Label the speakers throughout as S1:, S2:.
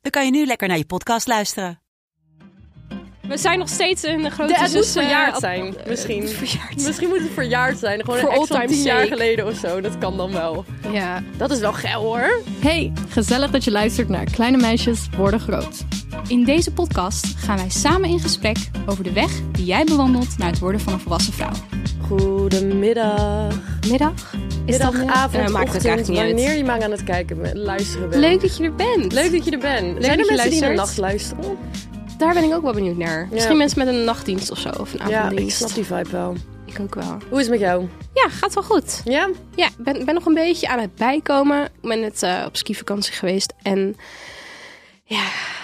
S1: dan kan je nu lekker naar je podcast luisteren.
S2: We zijn nog steeds een grote
S3: De, het moet
S2: zus, eh,
S3: verjaard
S2: ab-
S3: zijn, misschien.
S2: verjaard.
S3: Misschien moet het verjaard zijn. Gewoon
S2: For
S3: een extra
S2: all time's
S3: tien jaar
S2: sake.
S3: geleden of zo. Dat kan dan wel.
S4: Ja.
S3: Dat is wel geil hoor.
S4: Hey, gezellig dat je luistert naar Kleine Meisjes Worden Groot.
S5: In deze podcast gaan wij samen in gesprek over de weg die jij bewandelt naar het worden van een volwassen vrouw.
S3: Goedemiddag.
S2: Middag.
S3: Is Middag, avond,
S2: Eh, maakt het
S3: ochtend,
S2: eigenlijk niet uit.
S3: wanneer je maar aan het kijken bent, luisteren bent.
S2: Leuk dat je er bent.
S3: Leuk dat je er bent. zijn er
S2: dat je
S3: mensen die in de
S2: luistert.
S3: nacht luisteren?
S2: Daar ben ik ook wel benieuwd naar. Misschien mensen met een nachtdienst of zo. Of een
S3: Ja,
S2: avonddienst.
S3: ik snap die vibe wel.
S2: Ik ook wel.
S3: Hoe is het met jou?
S2: Ja, gaat wel goed.
S3: Ja?
S2: Ja, ik ben, ben nog een beetje aan het bijkomen. Ik ben net eh, op skivakantie geweest. En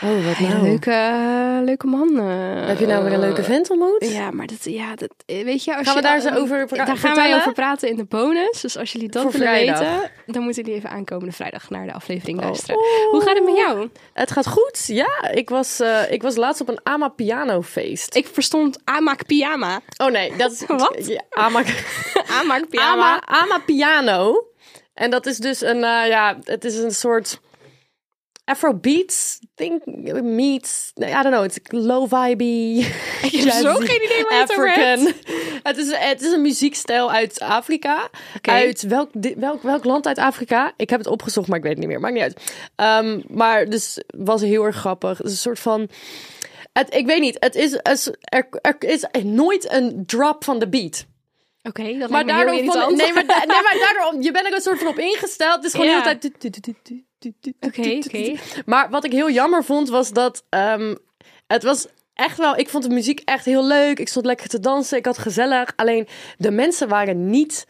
S3: Oh, wat
S2: een leuke, eh, leuke man. nou? eh,
S3: Heb je nou weer een leuke vent ontmoet?
S2: Ja, maar dat, ja, dat eh, weet je. Als
S3: Gaan
S2: je
S3: we daar
S2: dan-
S3: zo over pra-
S2: Daar gaan wij
S3: vertellen?
S2: over praten in de bonus. Dus als jullie dat
S3: Voor
S2: willen
S3: vrijdag. Oh.
S2: weten, dan moeten jullie even aankomende vrijdag naar de aflevering luisteren.
S3: Oeh.
S2: Hoe gaat het met jou?
S3: Het gaat goed, ja. Ik was, eh, ik was laatst op een Ama pianofeest.
S2: Ik verstond aanmaak pyjama.
S3: Oh nee, dat is...
S2: Wat?
S3: Ja, Ama...
S2: Aanmaak
S3: Ama,
S2: pyjama.
S3: Ama Piano. En dat is dus een, eh, ja, het is een soort Afrobeats, think, meets, nee, I don't know, it's low-vibe. Ik
S2: heb zo geen idee waar je het over
S3: African. Het is, het is een muziekstijl uit Afrika.
S2: Oké.
S3: Uit welk, di- welk, welk land uit Afrika? Ik heb het opgezocht, maar ik weet het niet meer. Maakt niet uit. Ehm, maar dus was heel erg grappig. Het is een soort van... Het, ik weet niet, het is, het is- er, er is nooit een drop van de beat.
S2: Oké, dat
S3: Maar
S2: lijkt me heel
S3: daardoor, vond-
S2: irritant.
S3: nee, maar, da- nee, maar daardoor, je bent er een soort van op ingesteld. Het is gewoon
S2: Ja.
S3: de hele tijd. tu- tu- tu- tu- tu- tu- tu-
S2: Oké,
S3: tu- tu- tu-
S2: oké.
S3: Maar wat ik heel jammer vond, was dat ehm, het was echt wel. Ik vond de muziek echt heel leuk. Ik stond lekker te dansen. Ik had gezellig. Alleen de mensen waren niet.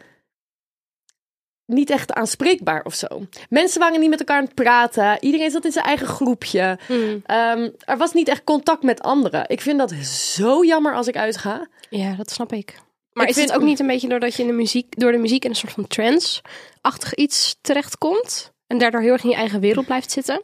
S3: Niet echt aanspreekbaar of zo. Mensen waren niet met elkaar aan het praten. Iedereen zat in zijn eigen groepje.
S2: Hm. Mm.
S3: Ehm, er was niet echt contact met anderen. Ik vind dat zo jammer als ik uitga.
S2: Ja, dat snap ik. Maar
S3: Ik
S2: is het
S3: vind-
S2: ook niet een beetje doordat je in de muziek, door de muziek in een soort van trance-achtig iets terechtkomt? En daardoor heel erg in je eigen wereld blijft zitten?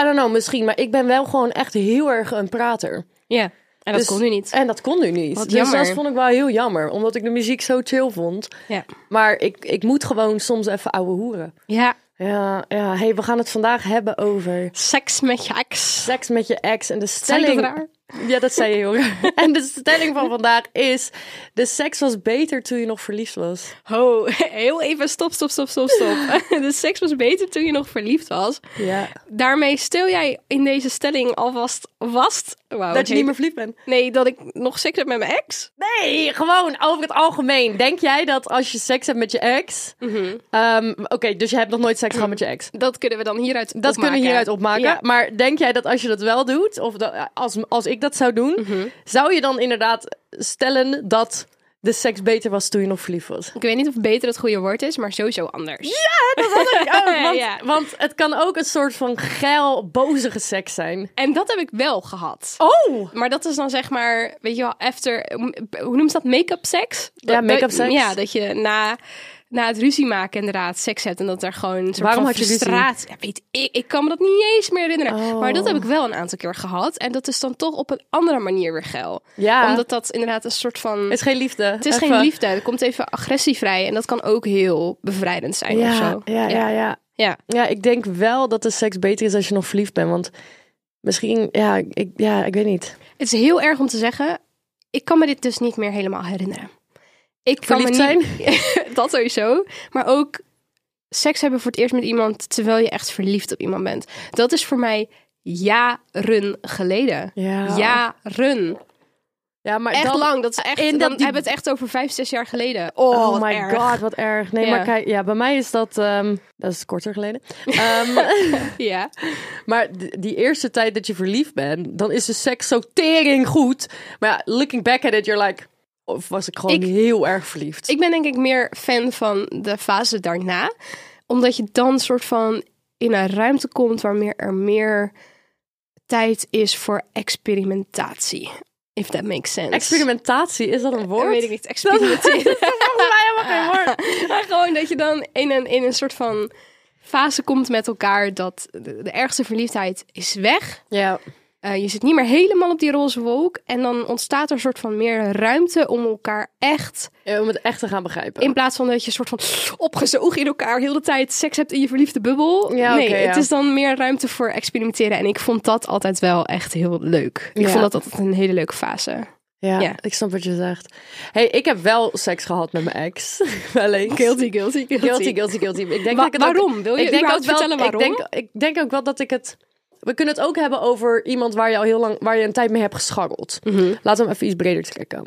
S3: I don't know, misschien. Maar ik ben wel gewoon echt heel erg een prater.
S2: Ja, en dat
S3: Dus-
S2: kon nu niet.
S3: En dat kon nu niet.
S2: Wat
S3: Dus dat
S2: jammer.
S3: vond ik wel heel jammer. Omdat ik de muziek zo chill vond.
S2: Ja.
S3: Maar ik, ik moet gewoon soms even ouwe hoeren.
S2: ja,
S3: Ja, ja. hey, we gaan het vandaag hebben over
S2: seks met je ex.
S3: seks met je ex. En de
S2: Zei ik
S3: stelling...
S2: dat raar?
S3: Ja, dat zei je, hoor. en de stelling van vandaag is... De seks was beter toen je nog verliefd was.
S2: Ho, heel even stop, stop, stop, stop, stop. De seks was beter toen je nog verliefd was.
S3: Ja.
S2: Daarmee stel jij in deze stelling alvast vast. Wauw,
S3: Dat je niet
S2: oké.
S3: meer verliefd bent.
S2: Nee, dat ik nog seks heb met mijn ex.
S3: Nee, gewoon over het algemeen. Denk jij dat als je seks hebt met je ex...
S2: Mhm.
S3: Ehm, Oké, dus je hebt nog nooit seks gehad met je ex.
S2: Dat kunnen we dan hieruit
S3: Dat kunnen we hieruit opmaken.
S2: Ja.
S3: Maar denk jij dat als je dat wel doet, of dat- als, als ik dat zou doen,
S2: Mhm.
S3: zou je dan inderdaad stellen dat de seks beter was toen je nog verliefd was?
S2: Ik weet niet of beter het goede woord is, maar sowieso anders.
S3: want,
S2: Ja.
S3: want het kan ook een soort van geil, bozige seks zijn.
S2: En dat heb ik wel gehad.
S3: Oh!
S2: Maar dat is dan zeg maar, weet je wel, after, hoe noemt dat, make-up seks?
S3: Ja,
S2: Dat-
S3: make-up seks.
S2: Ja, dat je na, na het ruzie maken inderdaad seks hebt en dat er gewoon een soort
S3: Waarom
S2: van
S3: had je ruzie?
S2: frustratie... Ja, weet ik, ik kan me dat niet eens meer herinneren.
S3: Oh.
S2: Maar dat heb ik wel een aantal keer gehad en dat is dan toch op een andere manier weer geil.
S3: Ja.
S2: Omdat dat inderdaad een soort van...
S3: Het is geen liefde.
S2: het is
S3: Even-
S2: geen liefde, er komt even agressie vrij en dat kan ook heel bevrijdend zijn of
S3: Ja,
S2: zo.
S3: ja, ja, ja.
S2: Ja.
S3: Ja, ik denk wel dat de seks beter is als je nog verliefd bent. Want misschien, ja, ik, ja, ik weet niet.
S2: Het is heel erg om te zeggen. Ik kan me dit dus niet meer helemaal herinneren. Ik kan me
S3: Verliefd
S2: niet, dat sowieso. Maar ook seks hebben voor het eerst met iemand terwijl je echt verliefd op iemand bent. Dat is voor mij jaren geleden.
S3: Ja,
S2: Jaren.
S3: ja maar
S2: Echt
S3: dan-
S2: lang. Dat is echt,
S3: en
S2: dan
S3: dat die-
S2: hebben we het echt over vijf, zes jaar geleden. Oh,
S3: Oh,
S2: wat
S3: my
S2: erg.
S3: god, wat erg. Nee,
S2: Ja.
S3: maar kijk, ja, bij mij is dat. ehm, dat is korter geleden. Ehm,
S2: Ja.
S3: maar d- die eerste tijd dat je verliefd bent, dan is de seks zo tering goed. Maar ja, looking back at it, you're like. Of was ik gewoon
S2: Ik-
S3: heel erg verliefd?
S2: Ik ben denk ik meer fan van de fase daarna. Omdat je dan soort van in een ruimte komt waar meer, er meer tijd is voor experimentatie. If that makes sense.
S3: Experimentatie, is dat een woord?
S2: Dat weet ik niet. Experimenteren.
S3: Volgens mij helemaal geen woord.
S2: maar gewoon dat je dan in een, in een soort van fase komt met elkaar dat de, de ergste verliefdheid is weg.
S3: Ja.
S2: Eh, je zit niet meer helemaal op die roze wolk. En dan ontstaat er een soort van meer ruimte om elkaar echt.
S3: Ja, Om het echt te gaan begrijpen.
S2: In plaats van dat je een soort van opgezogen in elkaar heel de tijd seks hebt in je verliefde bubbel.
S3: Ja,
S2: nee,
S3: oké,
S2: het
S3: ja.
S2: is dan meer ruimte voor experimenteren. En ik vond dat altijd wel echt heel leuk. Ik
S3: Ja.
S2: vond dat altijd een hele leuke fase.
S3: ja,
S2: ja.
S3: ik snap wat je zegt. hey, ik heb wel seks gehad met mijn ex. wel eens.
S2: Guilty, guilty, guilty.
S3: guilty, guilty, guilty. Ik denk
S2: Wa-
S3: dat ik het ook-
S2: waarom? Wil je
S3: ik denk
S2: überhaupt
S3: ook wel,
S2: vertellen waarom?
S3: Ik denk, ik denk ook wel dat ik het... We kunnen het ook hebben over iemand waar je al heel lang... waar je een tijd mee hebt gescharreld.
S2: Mhm.
S3: Laten we hem even iets breder trekken.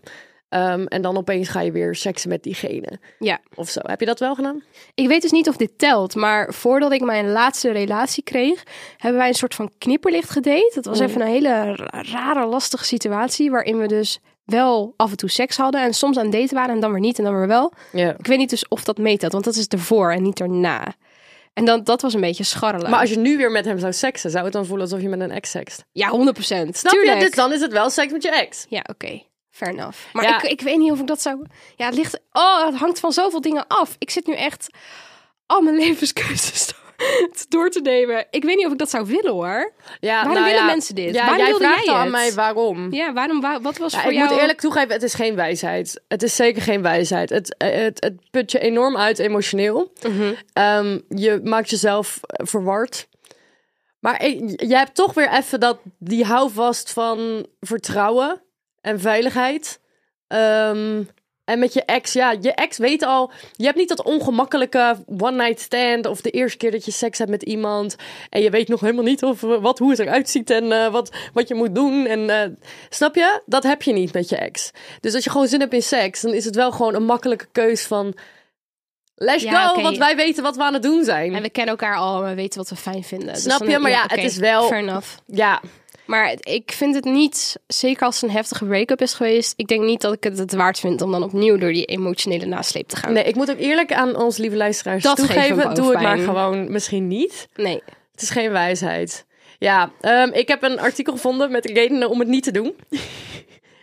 S3: Ehm, en dan opeens ga je weer seksen met diegene.
S2: Ja.
S3: Of zo. Heb je dat wel gedaan?
S2: Ik weet dus niet of dit telt, maar voordat ik mijn laatste relatie kreeg, hebben wij een soort van knipperlicht gedate. Dat
S3: Mm.
S2: was even een hele ra- rare, lastige situatie waarin we dus wel af en toe seks hadden en soms aan het daten waren en dan weer niet en dan weer wel.
S3: Ja.
S2: Ik weet niet dus of dat meetelt, want dat is ervoor en niet erna. En dan, dat was een beetje scharrelen.
S3: Maar als je nu weer met hem zou seksen, zou het dan voelen alsof je met een ex sekst?
S2: Ja, 100 procent.
S3: Snap je? Dus dan is het wel seks met je ex.
S2: Ja, oké. Fair enough. Maar
S3: Ja.
S2: ik, ik weet niet of ik dat zou... Ja, het ligt... Oh, het hangt van zoveel dingen af. Ik zit nu echt al mijn levenskeuzes door te nemen. Ik weet niet of ik dat zou willen, hoor.
S3: Ja,
S2: Waarom
S3: nou
S2: willen
S3: ja.
S2: mensen dit?
S3: Ja,
S2: Waarom
S3: jij
S2: wilde
S3: vraagt
S2: jij
S3: al aan
S2: het?
S3: mij waarom.
S2: Ja, waarom... wa- wat was
S3: Ja,
S2: voor
S3: ik
S2: jou...
S3: moet eerlijk toegeven, het is geen wijsheid. Het is zeker geen wijsheid. Het, het, het put je enorm uit emotioneel.
S2: Mhm.
S3: Ehm, je maakt jezelf eh, verward. Maar ik- jij hebt toch weer even dat, die houvast van vertrouwen en veiligheid. Ehm, en met je ex, ja, je ex weet al... Je hebt niet dat ongemakkelijke one-night stand... of de eerste keer dat je seks hebt met iemand... en je weet nog helemaal niet of, eh, wat, hoe het eruit ziet... en eh, wat, wat je moet doen. En, eh, snap je? Dat heb je niet met je ex. Dus als je gewoon zin hebt in seks... dan is het wel gewoon een makkelijke keus van... Let's
S2: Ja,
S3: go,
S2: oké.
S3: want wij weten wat we aan het doen zijn.
S2: En we kennen elkaar al en we weten wat we fijn vinden. Dus
S3: Snap
S2: dan-
S3: je? Maar ja, het
S2: oké,
S3: is wel-
S2: Fair enough.
S3: Ja,
S2: Maar het- ik vind het niet... Zeker als het een heftige break-up is geweest... Ik denk niet dat ik het het waard vind om dan opnieuw door die emotionele nasleep te gaan.
S3: nee, ik moet ook eerlijk aan onze lieve luisteraars
S2: Dat geeft
S3: toegeven...
S2: een
S3: doe het maar
S2: hoofdpijn.
S3: gewoon misschien niet.
S2: nee.
S3: Het is geen wijsheid. Ja, ehm, ik heb een artikel gevonden met redenen om het niet te doen.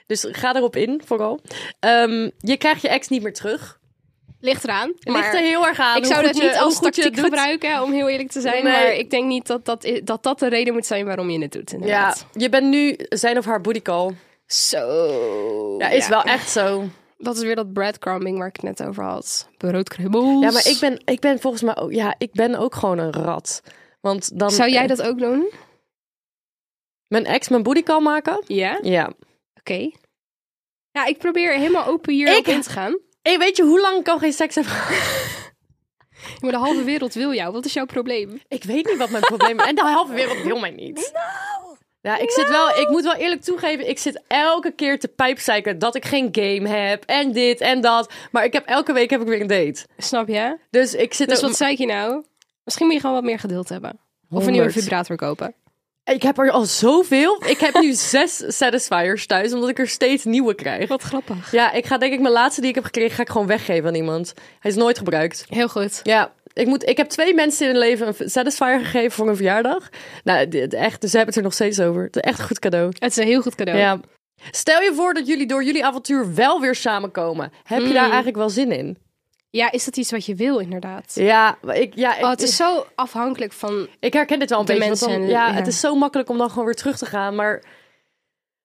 S3: dus ga erop in, vooral. Ehm, je krijgt je ex niet meer terug.
S2: Ligt eraan.
S3: Ligt
S2: maar-
S3: er heel erg aan
S2: Ik
S3: hoe
S2: zou
S3: goed
S2: dat niet
S3: je,
S2: als
S3: hoe goed je het
S2: tactiek
S3: doet.
S2: gebruiken, om heel eerlijk te zijn.
S3: Nee.
S2: Maar ik denk niet dat dat, i- dat dat de reden moet zijn waarom je het doet,
S3: Ja,
S2: inderdaad.
S3: je bent nu zijn of haar bodycall.
S2: Zo.
S3: Ja, is wel echt zo.
S2: Dat is weer dat breadcrumbing waar ik het net over had. Broodkrummels.
S3: Ja, maar ik ben, ik ben volgens mij ook, ja, ik ben ook gewoon een rat. Want dan
S2: Zou jij dat ook doen?
S3: mijn ex mijn bodycall maken?
S2: Ja? Oké.
S3: Ja.
S2: Ja, ik probeer helemaal open hier
S3: Ik-
S2: op in te gaan.
S3: Hey, weet je hoe lang ik al geen seks heb gehad?
S2: Ja, Maar de halve wereld wil jou. Wat is jouw probleem?
S3: Ik weet niet wat mijn probleem is. En de halve wereld wil mij niet. Ja, ik zit wel, ik moet wel eerlijk toegeven, ik zit elke keer te pijpzeiken dat ik geen game heb en dit en dat. Maar ik heb elke week heb ik weer een date.
S2: Snap je?
S3: Dus ik zit
S2: Dus
S3: er-
S2: wat zei ik je nou? Misschien moet je gewoon wat meer geduld hebben. Of een nieuwe
S3: Honderd.
S2: vibrator kopen.
S3: Ik heb er al zoveel. Ik heb nu zes satisfiers thuis, omdat ik er steeds nieuwe krijg.
S2: Wat grappig.
S3: Ja, ik ga denk ik mijn laatste die ik heb gekregen, ga ik gewoon weggeven aan iemand. Hij is nooit gebruikt.
S2: Heel goed.
S3: Ja, ik, moet, ik heb twee mensen in hun leven een satisfier gegeven voor een verjaardag. Nou, dit- echt, ze hebben het er nog steeds over. Het is echt een goed cadeau.
S2: Het is een heel goed cadeau.
S3: Ja. Stel je voor dat jullie door jullie avontuur wel weer samenkomen. Heb je daar eigenlijk wel zin in?
S2: ja, is dat iets wat je wil, inderdaad?
S3: Ja, maar ik, ja, ik,
S2: Oh, het is zo afhankelijk van.
S3: ik herken dit wel een
S2: de
S3: beetje. want
S2: mensen
S3: dan-
S2: en-
S3: ja,
S2: ja.
S3: Het is zo makkelijk om dan gewoon weer terug te gaan. Maar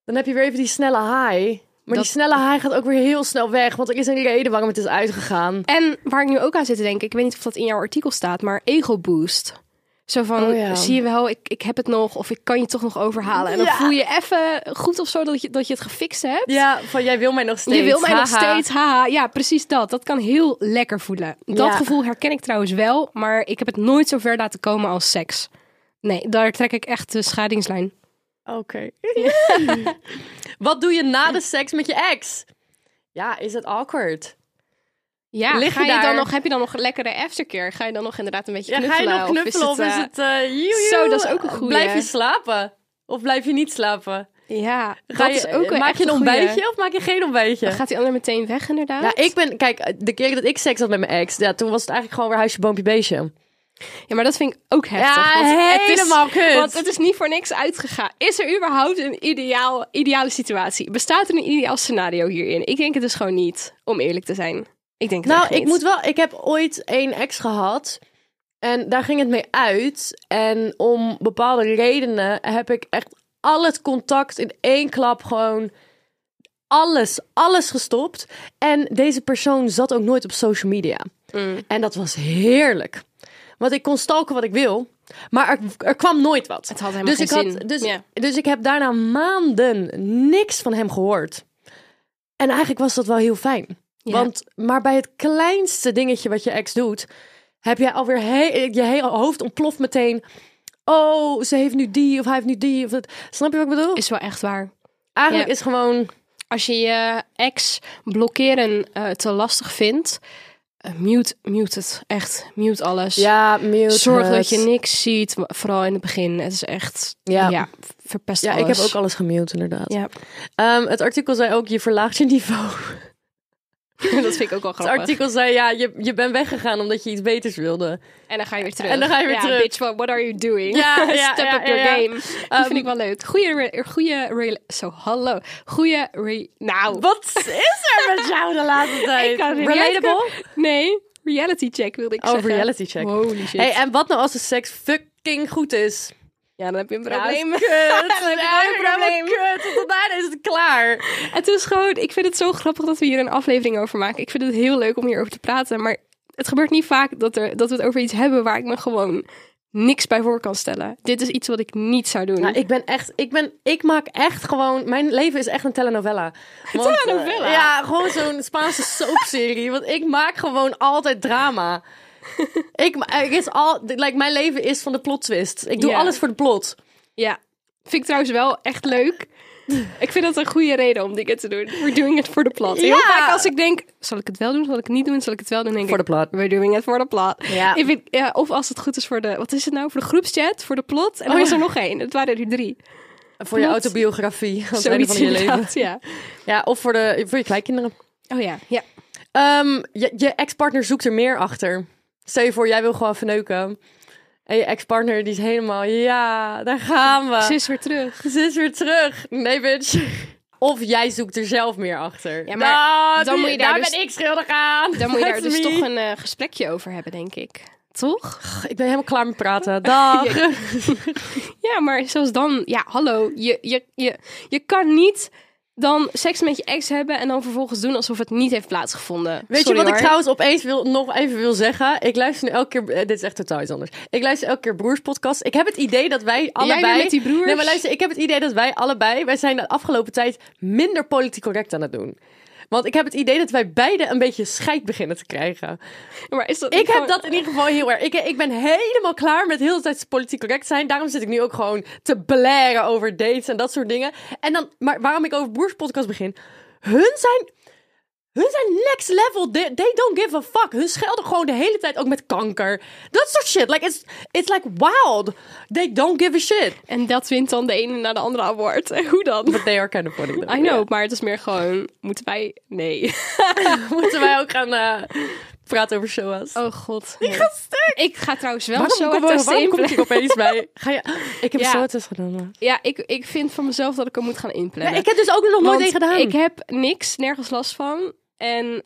S3: dan heb je weer even die snelle high. Maar
S2: Dat-
S3: die snelle high gaat ook weer heel snel weg. Want er is een reden waarom het is uitgegaan.
S2: En waar ik nu ook aan zit te denken, ik weet niet of dat in jouw artikel staat, maar ego boost. Zo van,
S3: Oh ja.
S2: zie je wel, ik, ik heb het nog, of ik kan je toch nog overhalen. En dan
S3: Ja.
S2: voel je even goed of zo dat je, dat je het gefixt hebt.
S3: Ja, van jij wil mij nog steeds.
S2: je wil mij nog
S3: haha.
S2: steeds, haha. Ja, precies dat. Dat kan heel lekker voelen. Dat
S3: Ja.
S2: gevoel herken ik trouwens wel, maar ik heb het nooit zo ver laten komen als seks. Nee, daar trek ik echt de scheidingslijn.
S3: Oké. Wat doe je na de seks met je ex? Ja, is het awkward?
S2: Ja,
S3: Lig
S2: ga
S3: je
S2: je dan
S3: daar-
S2: nog, heb je dan nog een lekkere aftercare? Ga je dan nog inderdaad een beetje
S3: Ja, ga
S2: knuffelen?
S3: je nog knuffelen of is
S2: eh,
S3: het... eh, joejoe?
S2: Zo, dat is ook een goeie.
S3: Blijf je slapen? Of blijf je niet slapen?
S2: Ja,
S3: Ga
S2: dat
S3: je,
S2: is ook een
S3: maak
S2: echt
S3: je een
S2: goeie.
S3: ontbijtje of maak je geen ontbijtje?
S2: Dan gaat die ander meteen weg, inderdaad.
S3: Ja, ik ben... Kijk, de keer dat ik seks had met mijn ex... Ja, toen was het eigenlijk gewoon weer huisje, boompje, beestje.
S2: Ja, maar dat vind ik ook heftig.
S3: Ja,
S2: want het is,
S3: helemaal kut.
S2: Want het is niet voor niks uitgegaan. Is er überhaupt een ideaal, ideale situatie? Bestaat er een ideaal scenario hierin? Ik denk het dus gewoon niet, om eerlijk te zijn. Ik denk het
S3: Nou,
S2: echt niet.
S3: ik moet wel. Ik heb ooit één ex gehad. En daar ging het mee uit. En om bepaalde redenen heb ik echt al het contact in één klap gewoon. Alles, alles gestopt. En deze persoon zat ook nooit op social media.
S2: Mm.
S3: En dat was heerlijk. Want ik kon stalken wat ik wil. Maar er, er kwam nooit wat.
S2: Het had helemaal
S3: dus, ik
S2: geen
S3: had,
S2: zin.
S3: dus,
S2: Ja.
S3: dus ik heb daarna maanden niks van hem gehoord. En eigenlijk was dat wel heel fijn. Want, maar bij het kleinste dingetje wat je ex doet, heb jij alweer he- je hele hoofd ontploft meteen. Oh, ze heeft nu die of hij heeft nu die. Of dat. Snap je wat ik bedoel?
S2: Is wel echt waar.
S3: Eigenlijk
S2: ja.
S3: is gewoon.
S2: Als je je ex blokkeren eh, te lastig vindt, eh, mute, mute het. Echt, mute alles.
S3: Ja, mute
S2: Zorg dat
S3: het.
S2: je niks ziet, vooral in het begin. Het is echt, ja,
S3: Ja.
S2: verpest
S3: Ja, ik
S2: alles.
S3: heb ook alles gemute, inderdaad.
S2: Ja,
S3: Ehm, het artikel zei ook: je verlaagt je niveau.
S2: dat vind ik ook wel
S3: Het
S2: grappig.
S3: artikel zei: ja, je, je bent weggegaan omdat je iets beters wilde.
S2: En dan ga je weer terug.
S3: En dan ga je weer
S2: Ja,
S3: terug.
S2: Bitch, what, what are you doing?
S3: Ja, ja,
S2: Step
S3: ja,
S2: up your
S3: ja, ja.
S2: game. Um, Die vind ik wel leuk. Goeie, re- goeie, re- zo, hallo. Goeie, re- nou.
S3: Wat is er met jou de laatste tijd?
S2: Ik kan het niet
S3: Relatable?
S2: uitkomen. Nee, reality check wilde ik
S3: Oh,
S2: zeggen.
S3: reality check.
S2: Holy shit.
S3: Hey, en wat nou als de seks fucking goed is?
S2: ja, dan heb je een
S3: Probleem.
S2: probleem.
S3: Ja, kut. Dan heb
S2: Ja,
S3: je gewoon een
S2: probleem.
S3: Kut. want Tot daarna is het klaar.
S2: Het is gewoon, ik vind het zo grappig dat we hier een aflevering over maken. Ik vind het heel leuk om hierover te praten. Maar het gebeurt niet vaak dat, er, dat we het over iets hebben waar ik me gewoon niks bij voor kan stellen. Dit is iets wat ik niet zou doen.
S3: Nou, ik ben echt, ik ben, ik maak echt gewoon, mijn leven is echt een telenovela. Want, eh,
S2: Telenovela?
S3: ja, gewoon zo'n Spaanse soapserie. Want ik maak gewoon altijd drama. ik, ma- er is al, like, mijn leven is van de plot twist. Ik doe
S2: Ja.
S3: alles voor de plot.
S2: Ja, vind ik trouwens wel echt leuk. Ik vind dat een goede reden om dingen te doen. We're doing it for the plot. Heel
S3: Ja.
S2: vaak als ik denk, zal ik het wel doen, zal ik het niet doen, zal ik het wel doen, denk
S3: Voor
S2: ik...
S3: de plot.
S2: We're doing it for the plot.
S3: Ja.
S2: Ik vind, ja, of als het goed is voor de, wat is het nou, voor de groepschat, voor de plot. En dan
S3: Oh,
S2: was
S3: ja.
S2: er nog één. Het waren er drie.
S3: Voor je
S2: Plot.
S3: autobiografie. Aan het einde
S2: Zoiets
S3: van je leven.
S2: inderdaad, ja.
S3: Ja, of voor, de, voor je kleinkinderen.
S2: Oh ja, ja.
S3: Ehm, je, je ex-partner zoekt er meer achter. Stel je voor, jij wil gewoon verneuken. En je ex-partner die is helemaal, ja, daar gaan we.
S2: Ze is weer terug.
S3: Ze is weer terug. Nee, bitch. Of jij zoekt er zelf meer achter.
S2: Ja, maar dan moet je daar dus-
S3: ben ik schuldig aan.
S2: Dan moet je daar
S3: That's
S2: dus
S3: me.
S2: toch een eh, gesprekje over hebben, denk ik. Toch?
S3: Ik ben helemaal klaar met praten. Dag.
S2: Ah. Ja, maar zelfs dan, ja, hallo. Je, je, je, je kan niet dan seks met je ex hebben en dan vervolgens doen alsof het niet heeft plaatsgevonden.
S3: Weet
S2: Sorry,
S3: je wat ik
S2: hoor.
S3: trouwens opeens wil, nog even wil zeggen? Ik luister nu elke keer... eh, dit is echt totaal iets anders. Ik luister elke keer broerspodcast. Ik heb het idee dat wij allebei...
S2: weer met die broers?
S3: Nee, maar luister. Ik heb het idee dat wij allebei... Wij zijn de afgelopen tijd minder politiek correct aan het doen. Want ik heb het idee dat wij beide een beetje scheid beginnen te krijgen.
S2: Maar is dat
S3: Ik
S2: niet
S3: heb
S2: gewoon-
S3: dat in ieder geval heel erg. Ik, ik ben helemaal klaar met heel de tijd politiek correct zijn. Daarom zit ik nu ook gewoon te blaren over dates en dat soort dingen. En dan, maar waarom ik over broerspodcast begin? Hun zijn, hun zijn next level. They, they don't give a fuck. Hun schelden gewoon de hele tijd ook met kanker. Dat soort shit. Like it's, it's like wild. They don't give a shit.
S2: En dat wint dan de ene na de andere award. En hoe dan?
S3: But they are kind of funny. though.
S2: I know, maar het is meer gewoon, moeten wij... Nee.
S3: Ja. Moeten wij ook gaan eh, praten over showas?
S2: Oh god. Ik ga Ik ga trouwens wel
S3: Waarom,
S2: zo
S3: kom,
S2: uit
S3: waarom kom ik hier opeens bij? Ga je, ik heb
S2: Ja.
S3: ja. SOA's gedaan.
S2: Ja, ik, ik vind van mezelf dat ik hem moet gaan inplannen.
S3: ik heb dus ook nog nooit
S2: Eh, Want
S3: één gedaan.
S2: Ik heb niks, nergens last van. En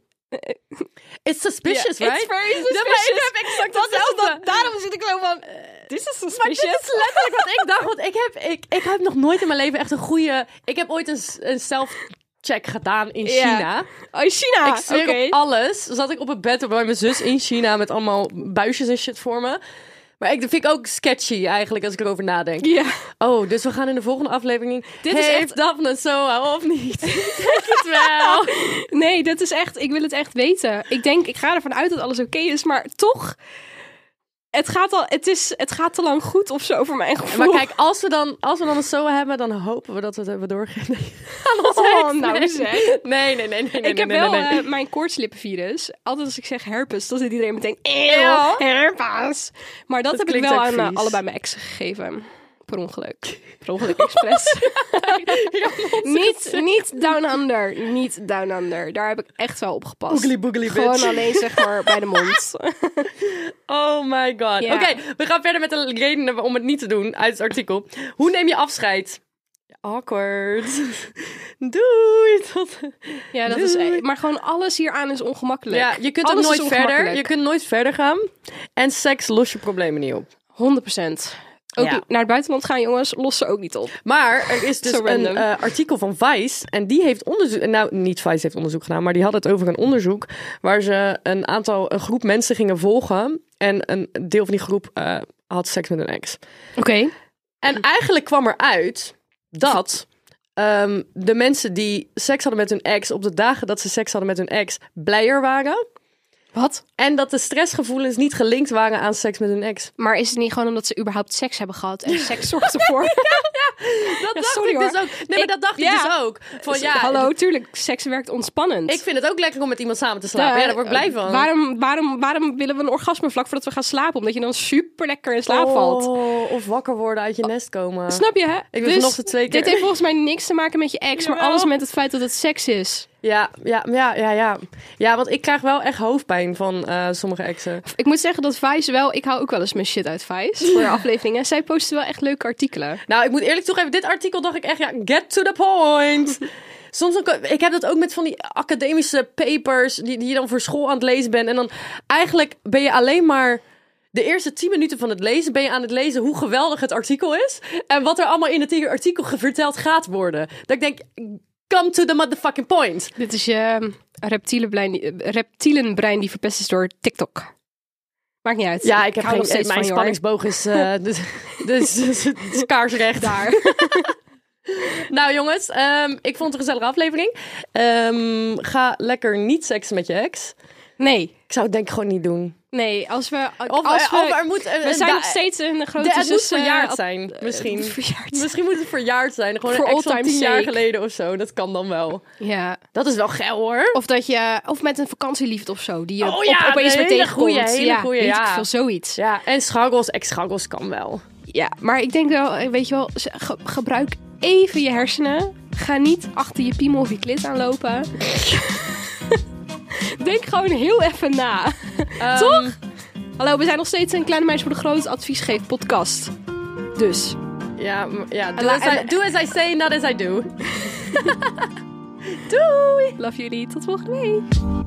S3: It's suspicious,
S2: Ja,
S3: right?
S2: it's very
S3: Ja, maar ik
S2: suspicious.
S3: heb exact
S2: Dat is
S3: hetzelfde.
S2: dat- daarom zit ik zo van. Eh, Dit is
S3: Maar dit
S2: suspicious.
S3: is letterlijk wat ik dacht. Want ik heb, ik, ik heb nog nooit in mijn leven echt een goede... Ik heb ooit een, s- een self-check gedaan in
S2: Ja.
S3: China.
S2: Oh, China.
S3: ik zweer
S2: Oké.
S3: op alles. Zat ik op het bed bij mijn zus in China met allemaal buisjes en shit voor me. Maar ik dat vind ik ook sketchy eigenlijk als ik erover nadenk.
S2: Ja.
S3: Oh, dus we gaan in de volgende aflevering... Dit
S2: Dit is
S3: is
S2: echt-
S3: Heeft Daphne Soa of niet? Denk het wel.
S2: Nee, dat is echt. Ik wil het echt weten. Ik denk, ik ga ervan uit dat alles oké is, maar toch. Het gaat, al, het, is, het gaat te lang goed of zo voor mijn gevoel.
S3: Maar kijk, als we dan, als we dan een SOA hebben, dan hopen we dat we het hebben doorgegeven. Aan ons
S2: Oh,
S3: ex.
S2: nou
S3: nee.
S2: zeg.
S3: Nee, nee, nee, nee. nee,
S2: ik heb
S3: nee,
S2: wel
S3: nee, nee.
S2: eh, mijn koortslippenvirus. Altijd als ik zeg herpes, dan zit iedereen meteen... Eeuw,
S3: Eeuw.
S2: herpes. Maar dat, heb ik
S3: klinkt
S2: wel
S3: ook
S2: aan eh,
S3: vies.
S2: allebei mijn exen gegeven. per ongeluk. Per ongeluk expres. niet, niet down under. Niet down under. Daar heb ik echt wel op gepast.
S3: Oogly boogly
S2: Gewoon
S3: bitch.
S2: alleen zeg maar bij de mond.
S3: Oh my god.
S2: Ja.
S3: Oké, we gaan verder met de redenen om het niet te doen uit het artikel. Hoe neem je afscheid? Awkward. Doei. Tot...
S2: ja, dat is.
S3: Doei.
S2: Maar gewoon alles hieraan is ongemakkelijk.
S3: Ja, je kunt ook
S2: Alles is
S3: nooit verder.
S2: ongemakkelijk.
S3: Je kunt nooit verder gaan. En seks lost je problemen niet op.
S2: 100%. Ook
S3: Ja.
S2: naar het buitenland gaan, jongens, los ze ook niet op.
S3: Maar er is dus
S2: Zo
S3: een
S2: random.
S3: eh, artikel van Vice. En die heeft onderzoek. Nou, niet Vice heeft onderzoek gedaan, maar die had het over een onderzoek. Waar ze een aantal, een groep mensen gingen volgen. En een deel van die groep eh, had seks met een ex.
S2: Oké.
S3: En eigenlijk kwam eruit dat ehm, de mensen die seks hadden met hun ex. op de dagen dat ze seks hadden met hun ex. blijer waren.
S2: Wat?
S3: En dat de stressgevoelens niet gelinkt waren aan seks met hun ex.
S2: Maar is het niet gewoon omdat ze überhaupt seks hebben gehad? En seks zorgt ervoor.
S3: Dat dacht
S2: sorry
S3: ik dus
S2: hoor.
S3: ook. Nee, maar
S2: Ik-
S3: dat dacht ik
S2: ja.
S3: dus ook. Van, ja,
S2: Hallo, tuurlijk, seks werkt ontspannend. Eh,
S3: Ik vind het ook lekker om met iemand samen te slapen. ja, eh, daar word ik blij van.
S2: Waarom, waarom, waarom willen we een orgasme vlak voordat we gaan slapen? Omdat je dan super lekker in slaap valt.
S3: Oh, of wakker worden uit je nest komen.
S2: Snap je, hè?
S3: ben
S2: dus
S3: vanochtend twee keer-
S2: Dit heeft volgens mij niks te maken met je ex, maar
S3: Jawel.
S2: alles met het feit dat het seks is.
S3: Ja, ja, ja, ja, ja. Ja, want ik krijg wel echt hoofdpijn van eh, sommige exen.
S2: Ik moet zeggen dat Vice wel... Ik hou ook wel eens mijn shit uit Vice voor de afleveringen. Zij posten wel echt leuke artikelen.
S3: Nou, ik moet eerlijk toegeven, dit artikel dacht ik echt, ja, get to the point. Soms ook, ik heb dat ook met van die academische papers die, die je dan voor school aan het lezen bent. En dan eigenlijk ben je alleen maar de eerste 10 minuten van het lezen ben je aan het lezen hoe geweldig het artikel is. En wat er allemaal in het artikel ge- verteld gaat worden. Dat ik denk, come to the motherfucking point.
S2: Dit is
S3: ehm,
S2: je reptielenbrein die, reptielenbrein die verpest is door TikTok. Maakt niet uit.
S3: Ja, ik heb
S2: hou
S3: geen,
S2: nog steeds
S3: mijn
S2: van je,
S3: spanningsboog is, eh, dus, dus, dus- dus kaarsrecht. Daar. nou jongens, ehm, ik vond het een gezellige aflevering. Ehm, ga lekker niet seksen met je ex.
S2: hoor. Nee,
S3: Ik zou het denk ik gewoon niet doen.
S2: nee. Als we...
S3: Of,
S2: als
S3: eh,
S2: we,
S3: of er moet... eh,
S2: we zijn
S3: da-
S2: nog steeds een grote
S3: de- het moet
S2: zus, eh,
S3: verjaard
S2: ad-
S3: zijn, misschien.
S2: eh, verjaard zijn.
S3: Misschien moet het verjaard zijn. Gewoon
S2: For
S3: een ex
S2: all
S3: van
S2: time's
S3: tien jaar
S2: sake.
S3: geleden of zo. Dat kan dan wel.
S2: Ja.
S3: Dat is wel geil hoor.
S2: Of dat je... Of met een vakantieliefde of zo. Die je
S3: Oh
S2: op-
S3: ja,
S2: opeens
S3: een
S2: weer
S3: hele
S2: tegenkomt.
S3: goeie, hele
S2: ja,
S3: goeie,
S2: weet
S3: ja.
S2: ik veel, zoiets. Ja.
S3: Ja, en scharrels, ex-scharrels kan wel.
S2: maar ik denk wel... eh, Weet je wel, ze- ge- gebruik even je hersenen. Ga niet achter je piemel of je klit aanlopen. denk gewoon heel even na.
S3: Toch?
S2: Hallo, we zijn nog steeds een Kleine Meisjes voor de Groot Advies Geeft podcast. Dus,
S3: Ja, m- ja do,
S2: la-
S3: as I,
S2: en-
S3: do as I say, not as I do. Doei!
S2: love jullie. Tot volgende week.